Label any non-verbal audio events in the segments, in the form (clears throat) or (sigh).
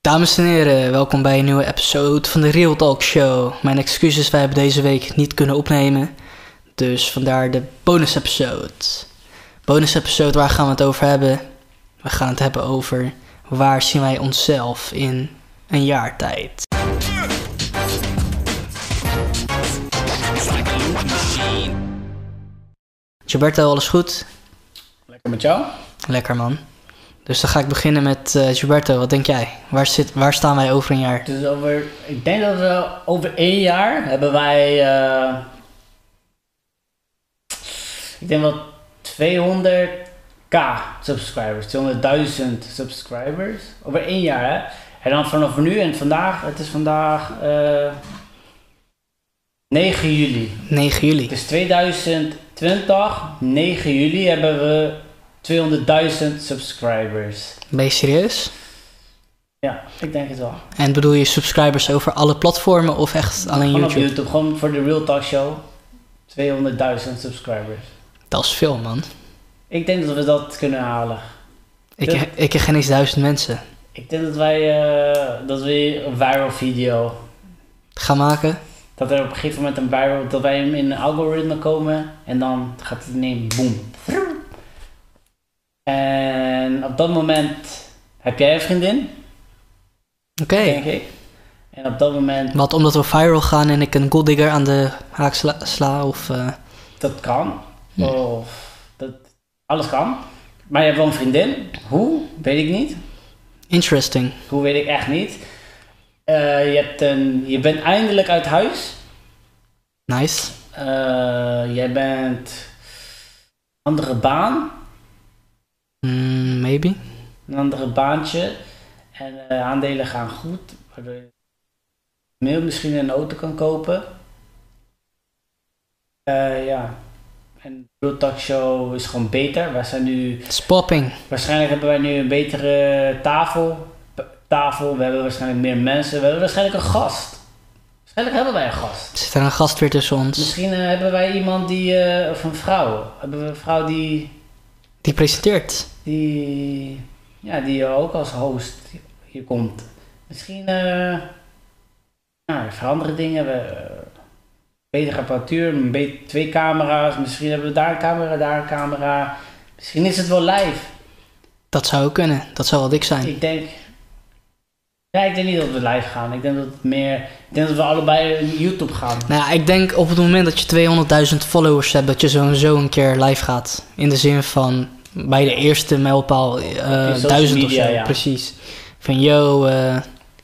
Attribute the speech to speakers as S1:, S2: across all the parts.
S1: Dames en heren, welkom bij een nieuwe episode van de Real Talk Show. Mijn excuses, wij hebben deze week niet kunnen opnemen. Dus vandaar de bonus episode. Bonus episode, waar gaan we het over hebben? We gaan het hebben over waar zien wij onszelf in een jaar tijd. Gilberto, alles goed?
S2: Lekker met jou?
S1: Lekker man. Dus dan ga ik beginnen met eh, Gilberto, wat denk jij? Waar, zit, waar staan wij over een jaar?
S2: Dus over, ik denk dat we over één jaar hebben wij. eh, ik denk wel 200k subscribers, 200.000 subscribers. Over één jaar hè. En dan vanaf nu en vandaag, het is vandaag eh, 9 juli.
S1: 9 juli.
S2: Dus 2020, 9 juli, hebben we 200.000 subscribers.
S1: Ben je serieus?
S2: Ja, ik denk het wel.
S1: En bedoel je subscribers over alle platformen of echt alleen
S2: Gewoon
S1: YouTube?
S2: op YouTube, gewoon voor de Real Talk Show. 200.000 subscribers.
S1: Dat is veel, man.
S2: Ik denk dat we dat kunnen halen.
S1: Ik,
S2: Ja.
S1: ik ken geen eens duizend mensen.
S2: Ik denk dat wij eh, dat we een viral video.
S1: Ga maken.
S2: Dat er op een gegeven moment een viral, dat wij in een algoritme komen en dan gaat het ineens boom. En op dat moment heb jij een vriendin,
S1: Oké.
S2: denk ik. En op dat moment,
S1: Wat omdat we viral gaan en ik een golddigger aan de haak sla, sla of... eh,
S2: dat kan.
S1: Ja.
S2: Of dat, alles kan. Maar je hebt wel een vriendin. Hoe? Weet ik niet.
S1: interesting.
S2: Hoe weet ik echt niet. Eh, je, hebt een, je bent eindelijk uit huis.
S1: Nice.
S2: Eh, jij bent andere baan,
S1: Mm, maybe.
S2: een andere baantje. En eh, aandelen gaan goed, waardoor je mail misschien een auto kan kopen. Eh, ja, en de Real Talk Show is gewoon beter. Wij zijn nu
S1: It's popping.
S2: Waarschijnlijk hebben wij nu een betere tafel. p- tafel. We hebben waarschijnlijk meer mensen. We hebben waarschijnlijk een gast. Waarschijnlijk hebben wij een gast.
S1: Zit er een gast weer tussen ons?
S2: Misschien eh, hebben wij iemand die. eh, of een vrouw. Hebben we een vrouw die.
S1: Die presenteert.
S2: die. Ja, die ook als host hier komt. Misschien. eh nou, veranderen dingen. We, eh, betere apparatuur. een be- twee camera's. Misschien hebben we daar een camera, daar een camera. Misschien is het wel live.
S1: Dat zou ook kunnen. Dat zou wel dik zijn.
S2: Ik denk. Ja, ik denk niet dat we live gaan. Ik denk dat het meer. Ik denk dat we allebei naar YouTube gaan.
S1: Nou ja, ik denk op het moment dat je 200.000 followers hebt... dat je zo en zo een keer live gaat. In de zin van bij de eerste mijlpaal eh,
S2: social
S1: 1000 of zo.
S2: media, ja.
S1: Precies. Van yo, eh,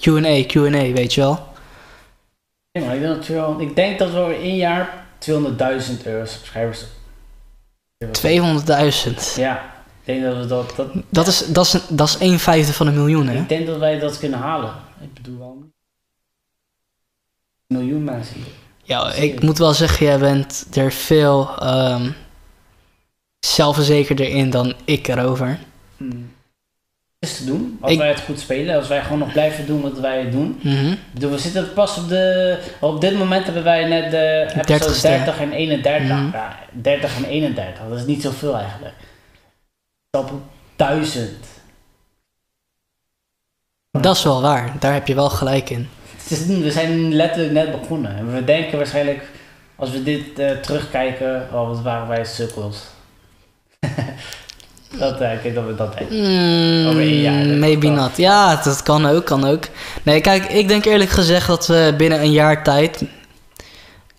S1: Q&A, Q&A, weet je wel.
S2: Ja, maar ik, denk dat we, wel- ik denk dat we over één jaar 200.000 euro subscribers.
S1: 200.000.
S2: Ja, ik denk dat we dat. dat
S1: Dat is, dat is, dat is een vijfde van een miljoen, hè?
S2: Ik denk dat wij dat kunnen halen. Ik bedoel wel. Een miljoen mensen.
S1: Ja, ik moet wel zeggen, jij bent er veel ehm, zelfverzekerder in dan ik erover.
S2: Hmm. Is te doen. Als
S1: Ik-
S2: wij het goed spelen. Als wij gewoon nog blijven doen wat wij doen.
S1: Mhm.
S2: Ik bedoel, we zitten pas op de. Op dit moment hebben wij net de episode
S1: 30ste.
S2: 30 en 31.
S1: Mhm.
S2: Ja, 30 en 31, dat is niet zoveel eigenlijk. Stap op 1000.
S1: Dat is wel waar, daar heb je wel gelijk in.
S2: Het is- we zijn letterlijk net begonnen. En we denken waarschijnlijk, als we dit eh, terugkijken, oh wat waren wij sukkels. (laughs) dat, eh, ik denk dat we dat denken.
S1: Mm,
S2: Over een jaar, dat
S1: maybe
S2: kan.
S1: not. Ja, dat kan ook, kan ook. Nee, kijk, ik denk eerlijk gezegd dat we binnen een jaar tijd...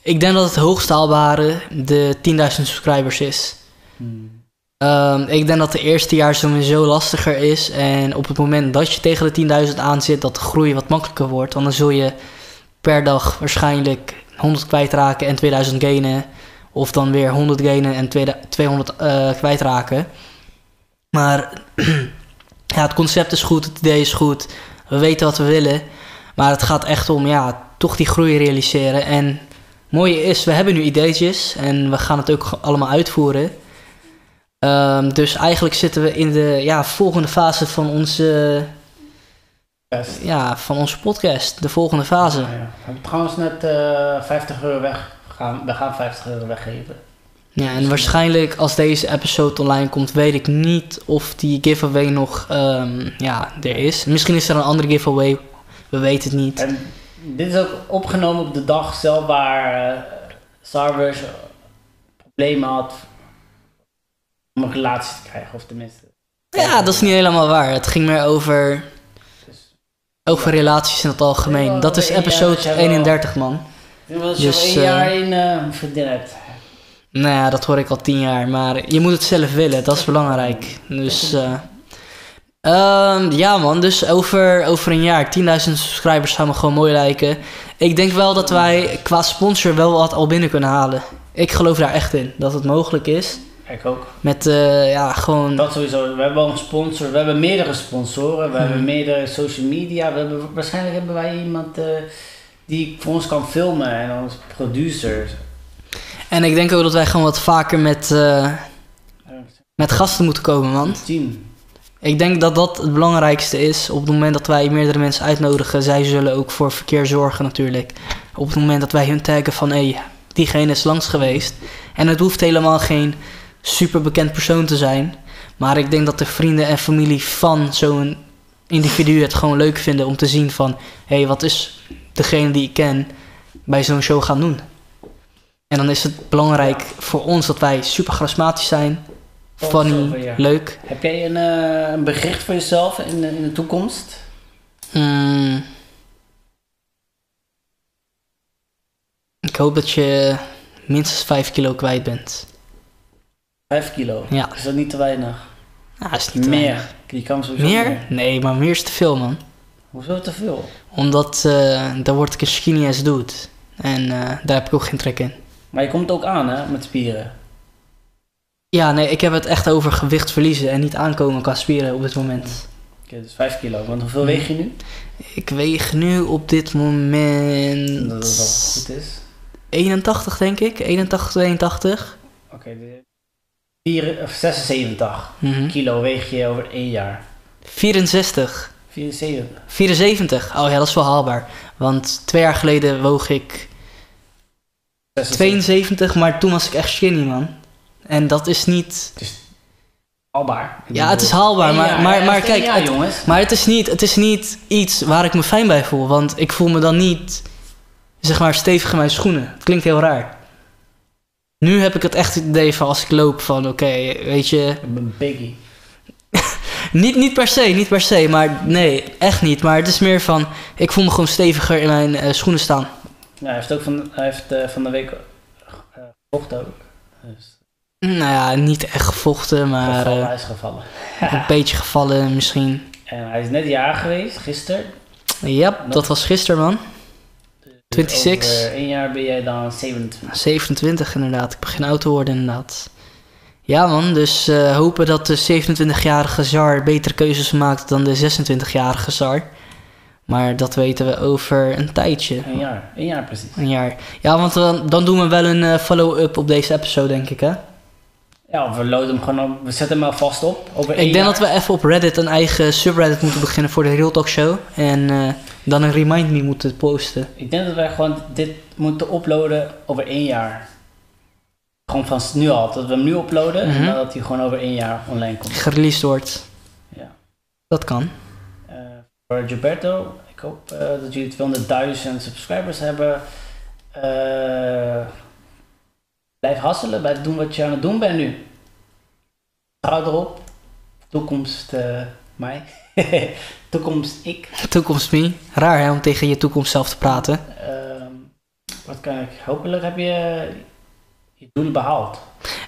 S1: Ik denk dat het hoogst haalbare de 10.000 subscribers is.
S2: Hmm.
S1: Ehm, ik denk dat de eerste jaar sowieso lastiger is. En op het moment dat je tegen de 10.000 aan zit, dat de groei wat makkelijker wordt. Want dan zul je per dag waarschijnlijk 100 kwijtraken en 2000 gainen. Of dan weer 100 gainen en 2000 200 eh, kwijtraken. Maar (clears throat) ja, het concept is goed, het idee is goed. We weten wat we willen. Maar het gaat echt om, ja, toch die groei realiseren. En het mooie is, we hebben nu ideetjes en we gaan het ook allemaal uitvoeren. Ehm, dus eigenlijk zitten we in de ja, volgende fase van onze,
S2: Best.
S1: ja, van onze podcast. De volgende fase.
S2: Ja, ja. We hebben trouwens net eh, 50 euro weg. We gaan, we gaan 50 euro weggeven.
S1: Ja, en waarschijnlijk als deze episode online komt, weet ik niet of die giveaway nog ehm, ja, er is. Misschien is er een andere giveaway, we weten het niet.
S2: En dit is ook opgenomen op de dag zelf waar eh, Star Wars problemen had om een relatie te krijgen, of tenminste.
S1: Ja, dat is niet helemaal waar. Het ging meer over,
S2: Dus,
S1: over relaties in het algemeen. Dat is episode 31, man.
S2: ik wil dat je
S1: Dus,
S2: al een
S1: eh,
S2: jaar in eh vriendin hebt.
S1: Nou ja, dat hoor ik al tien jaar. Maar je moet het zelf willen, dat is belangrijk. Dus eh, ehm, ja man, dus over, over een jaar 10.000 subscribers zou me gewoon mooi lijken. Ik denk wel dat wij qua sponsor wel wat al binnen kunnen halen. Ik geloof daar echt in, dat het mogelijk is.
S2: Ik ook.
S1: Met eh, ja, gewoon...
S2: Dat sowieso. We hebben al een sponsor. We hebben meerdere sponsoren.
S1: Mhm.
S2: We hebben meerdere social media. We hebben, waarschijnlijk hebben wij iemand eh, die voor ons kan filmen en onze producer.
S1: En ik denk ook dat wij gewoon wat vaker met, eh, met gasten moeten komen, man.
S2: Team.
S1: Ik denk dat dat het belangrijkste is. Op het moment dat wij meerdere mensen uitnodigen, zij zullen ook voor verkeer zorgen natuurlijk. Op het moment dat wij hun taggen van hé, diegene is langs geweest. En het hoeft helemaal geen superbekend persoon te zijn. Maar ik denk dat de vrienden en familie van zo'n individu het gewoon leuk vinden om te zien van hé, wat is degene die ik ken bij zo'n show gaan doen. En dan is het belangrijk voor ons dat wij super charismatisch zijn.
S2: Voor
S1: Funny,
S2: onszelf, ja.
S1: leuk.
S2: Heb jij een, eh, een bericht voor jezelf in de, in de toekomst?
S1: Mm. Ik hoop dat je minstens 5 kilo kwijt bent.
S2: Vijf kilo.
S1: Ja,
S2: Is dat niet te weinig?
S1: ah, is niet te weinig.
S2: meer. Die kan sowieso
S1: Meer? Nee, maar meer is te veel, man.
S2: Hoezo te veel?
S1: Omdat eh, daar word ik een skinny as dude. En eh, daar heb ik ook geen trek in.
S2: Maar je komt ook aan, hè, met spieren.
S1: Ja, nee, ik heb het echt over gewicht verliezen en niet aankomen qua spieren op dit moment.
S2: Oké, dus vijf kilo. Want
S1: Hmm.
S2: hoeveel weeg je nu?
S1: Ik weeg nu op dit
S2: Dat het wel
S1: moment
S2: goed is.
S1: 81, denk ik. 81, 82.
S2: Oké, de- vier- of 76
S1: Mhm.
S2: kilo weeg je over één jaar.
S1: 64.
S2: 74.
S1: 74. Oh ja, dat is wel haalbaar. Want twee jaar geleden woog ik
S2: 72.
S1: 72, maar toen was ik echt skinny, man. En dat is niet.
S2: Het is haalbaar. Ik
S1: Ja, het is
S2: bedoel,
S1: haalbaar,
S2: één
S1: maar,
S2: jaar,
S1: maar,
S2: hè,
S1: maar
S2: dat is één
S1: kijk.
S2: jaar,
S1: het-
S2: jongens.
S1: maar het is, niet, het is niet iets waar ik me fijn bij voel. Want ik voel me dan niet, zeg maar, stevig in mijn schoenen. Het klinkt heel raar. Nu heb ik het echt het idee van als ik loop van oké, weet je.
S2: Ik ben biggie.
S1: Niet, niet per se, niet per se, maar nee, echt niet. Maar het is meer van, ik voel me gewoon steviger in mijn eh, schoenen staan.
S2: Ja, hij heeft ook van, hij heeft, eh, van de week eh, gevochten ook. Dus,
S1: Nou ja, niet echt gevochten, maar
S2: gevallen,
S1: eh,
S2: hij is gevallen.
S1: een beetje gevallen misschien.
S2: En hij is net jaar geweest, gisteren.
S1: Ja, dat was gisteren man.
S2: Dus
S1: 26.
S2: Over één jaar ben jij dan 27.
S1: 27 inderdaad, ik begin oud te worden inderdaad. Ja man, dus eh, hopen dat de 27-jarige Zar betere keuzes maakt dan de 26-jarige Zar. Maar dat weten we over een tijdje.
S2: Een jaar, een jaar precies.
S1: Een jaar. Ja, want dan, dan doen we wel een eh, follow-up op deze episode, denk ik hè.
S2: Ja, of we loaden hem gewoon op, we zetten hem alvast op. Over één
S1: Ik denk
S2: jaar.
S1: dat we even op Reddit een eigen subreddit moeten beginnen voor de Real Talk Show. En eh, dan een remind me moeten posten.
S2: Ik denk dat wij gewoon dit moeten uploaden over één jaar. Gewoon van nu al, dat we hem nu uploaden
S1: Mhm.
S2: en dan dat hij gewoon over één jaar online komt.
S1: Gereleased wordt.
S2: Ja.
S1: Dat kan.
S2: Eh, voor Gilberto, ik hoop eh, dat jullie 200.000 subscribers hebben. Eh, blijf hasselen, blijf doen wat je aan het doen bent nu. Trouw erop. Toekomst eh, mij. (laughs) Toekomst ik.
S1: Toekomst me. Raar hè, om tegen je toekomst zelf te praten.
S2: Ehm, wat kan ik? Hopelijk heb je je doelen behaald.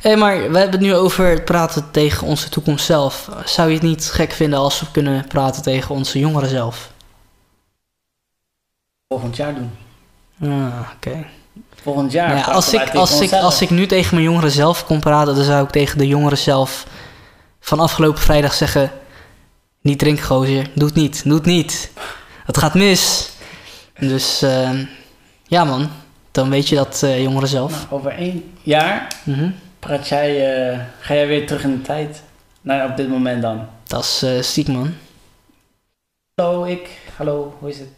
S1: Hé, maar we hebben het nu over het praten tegen onze toekomst zelf. Zou je het niet gek vinden als we kunnen praten tegen onze jongeren zelf?
S2: Volgend jaar doen.
S1: Ah, oké. Nou
S2: Volgend jaar.
S1: Ja,
S2: praten
S1: als,
S2: wij
S1: ik,
S2: tegen
S1: als, ik,
S2: onszelf.
S1: als ik nu tegen mijn jongeren zelf kon praten, dan zou ik tegen de jongeren zelf van afgelopen vrijdag zeggen: Niet drinken, gozer. Doe het niet. Doe het niet. Het gaat mis. Dus eh, ja, man. Dan weet je dat, eh, jongeren zelf.
S2: Nou, over één jaar
S1: Mhm.
S2: praat jij, eh, ga jij weer terug in de tijd. Nou, op dit moment dan.
S1: Dat is eh ziek, man.
S2: Hallo, ik. Hallo, hoe is het?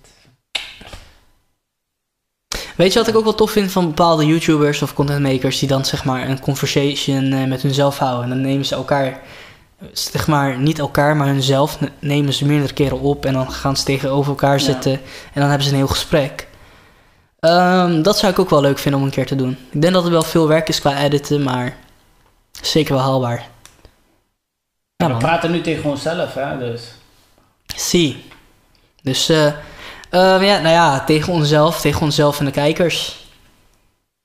S1: Weet je wat ik ook wel tof vind van bepaalde YouTubers of contentmakers die dan zeg maar een conversation eh, met hunzelf houden. En dan nemen ze elkaar, eh, zeg maar niet elkaar, maar hunzelf ne- nemen ze meerdere keren op en dan gaan ze tegenover elkaar
S2: Ja.
S1: zitten en dan hebben ze een heel gesprek. Ehm, dat zou ik ook wel leuk vinden om een keer te doen. Ik denk dat het wel veel werk is qua editen, maar zeker wel haalbaar. Ja,
S2: we
S1: man.
S2: praten nu tegen onszelf, hè, dus.
S1: Zie. Dus, eh, ehm, ja, nou ja, tegen onszelf, tegen onszelf en de kijkers.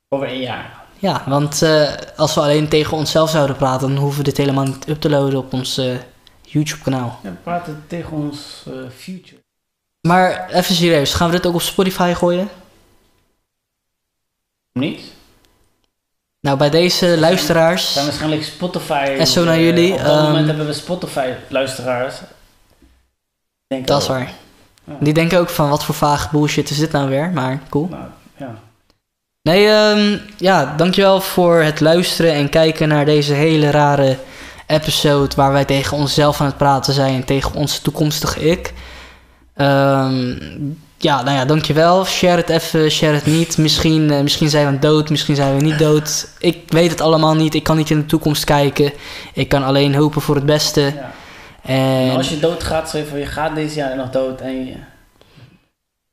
S2: Over een jaar.
S1: Ja, want eh, als we alleen tegen onszelf zouden praten, dan hoeven we dit helemaal niet up te loaden op ons eh, YouTube-kanaal.
S2: Ja, we praten tegen ons eh, future.
S1: Maar even serieus, gaan we dit ook op Spotify gooien?
S2: Niet?
S1: Nou, bij deze luisteraars.
S2: zijn waarschijnlijk Spotify.
S1: En zo naar
S2: eh,
S1: jullie,
S2: Op dat
S1: ehm,
S2: moment hebben we Spotify-luisteraars. Ik Denk
S1: Dat is
S2: wel.
S1: waar.
S2: Ja.
S1: Die denken ook van wat voor vage bullshit is dit nou weer, maar cool.
S2: Nou, ja.
S1: Nee, ehm, ja, dankjewel voor het luisteren en kijken naar deze hele rare episode waar wij tegen onszelf aan het praten zijn, tegen onze toekomstige ik. Ehm, ja, nou ja, dankjewel. Share het even, share het niet. Misschien, eh, misschien zijn we dood, misschien zijn we niet dood. Ik weet het allemaal niet. Ik kan niet in de toekomst kijken. Ik kan alleen hopen voor het beste.
S2: ja. En
S1: En
S2: Nou, als je doodgaat, schrijf van je gaat deze jaar nog dood en je...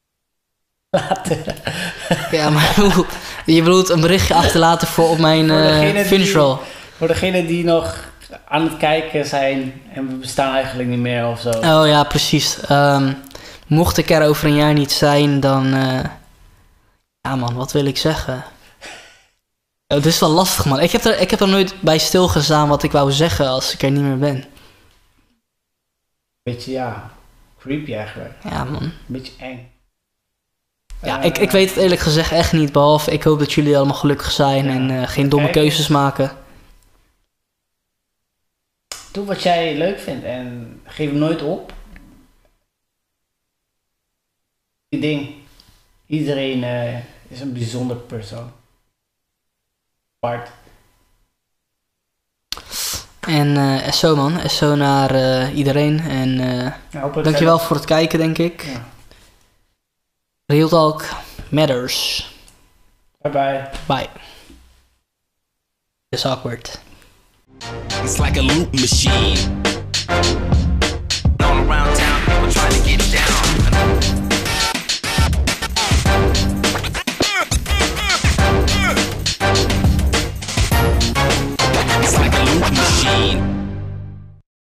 S2: (laughs) Later.
S1: (laughs) ja, maar hoe- je bedoelt een berichtje achterlaten voor op mijn
S2: Voor
S1: eh
S2: degene die-
S1: finish roll.
S2: Voor degenen die nog aan het kijken zijn en we bestaan eigenlijk niet meer of zo.
S1: (laughs) Oh ja, precies. Ehm, mocht ik er over een jaar niet zijn, dan. eh, Ja, man, wat wil ik zeggen? Oh, dit is wel lastig, man. Ik heb, er, ik heb er nooit bij stilgestaan wat ik wou zeggen als ik er niet meer ben.
S2: Beetje ja, creepy eigenlijk.
S1: Ja, man.
S2: Beetje eng.
S1: Ja,
S2: Eh,
S1: ik, ik weet het eerlijk gezegd echt niet. Behalve, ik hoop dat jullie allemaal gelukkig zijn
S2: Ja.
S1: en eh, geen domme
S2: Kijk.
S1: keuzes maken.
S2: Doe wat jij leuk vindt en geef hem nooit op. Die ding. Iedereen eh, is een bijzonder persoon. Apart.
S1: En eh, SO, man. SO naar eh, iedereen. En eh,
S2: Nou, hopelijk
S1: dankjewel voor het kijken, denk ik.
S2: Ja.
S1: Real Talk Matters.
S2: Bye bye.
S1: Bye. This is awkward.
S3: It's like a loop machine. All around town, people trying to get down.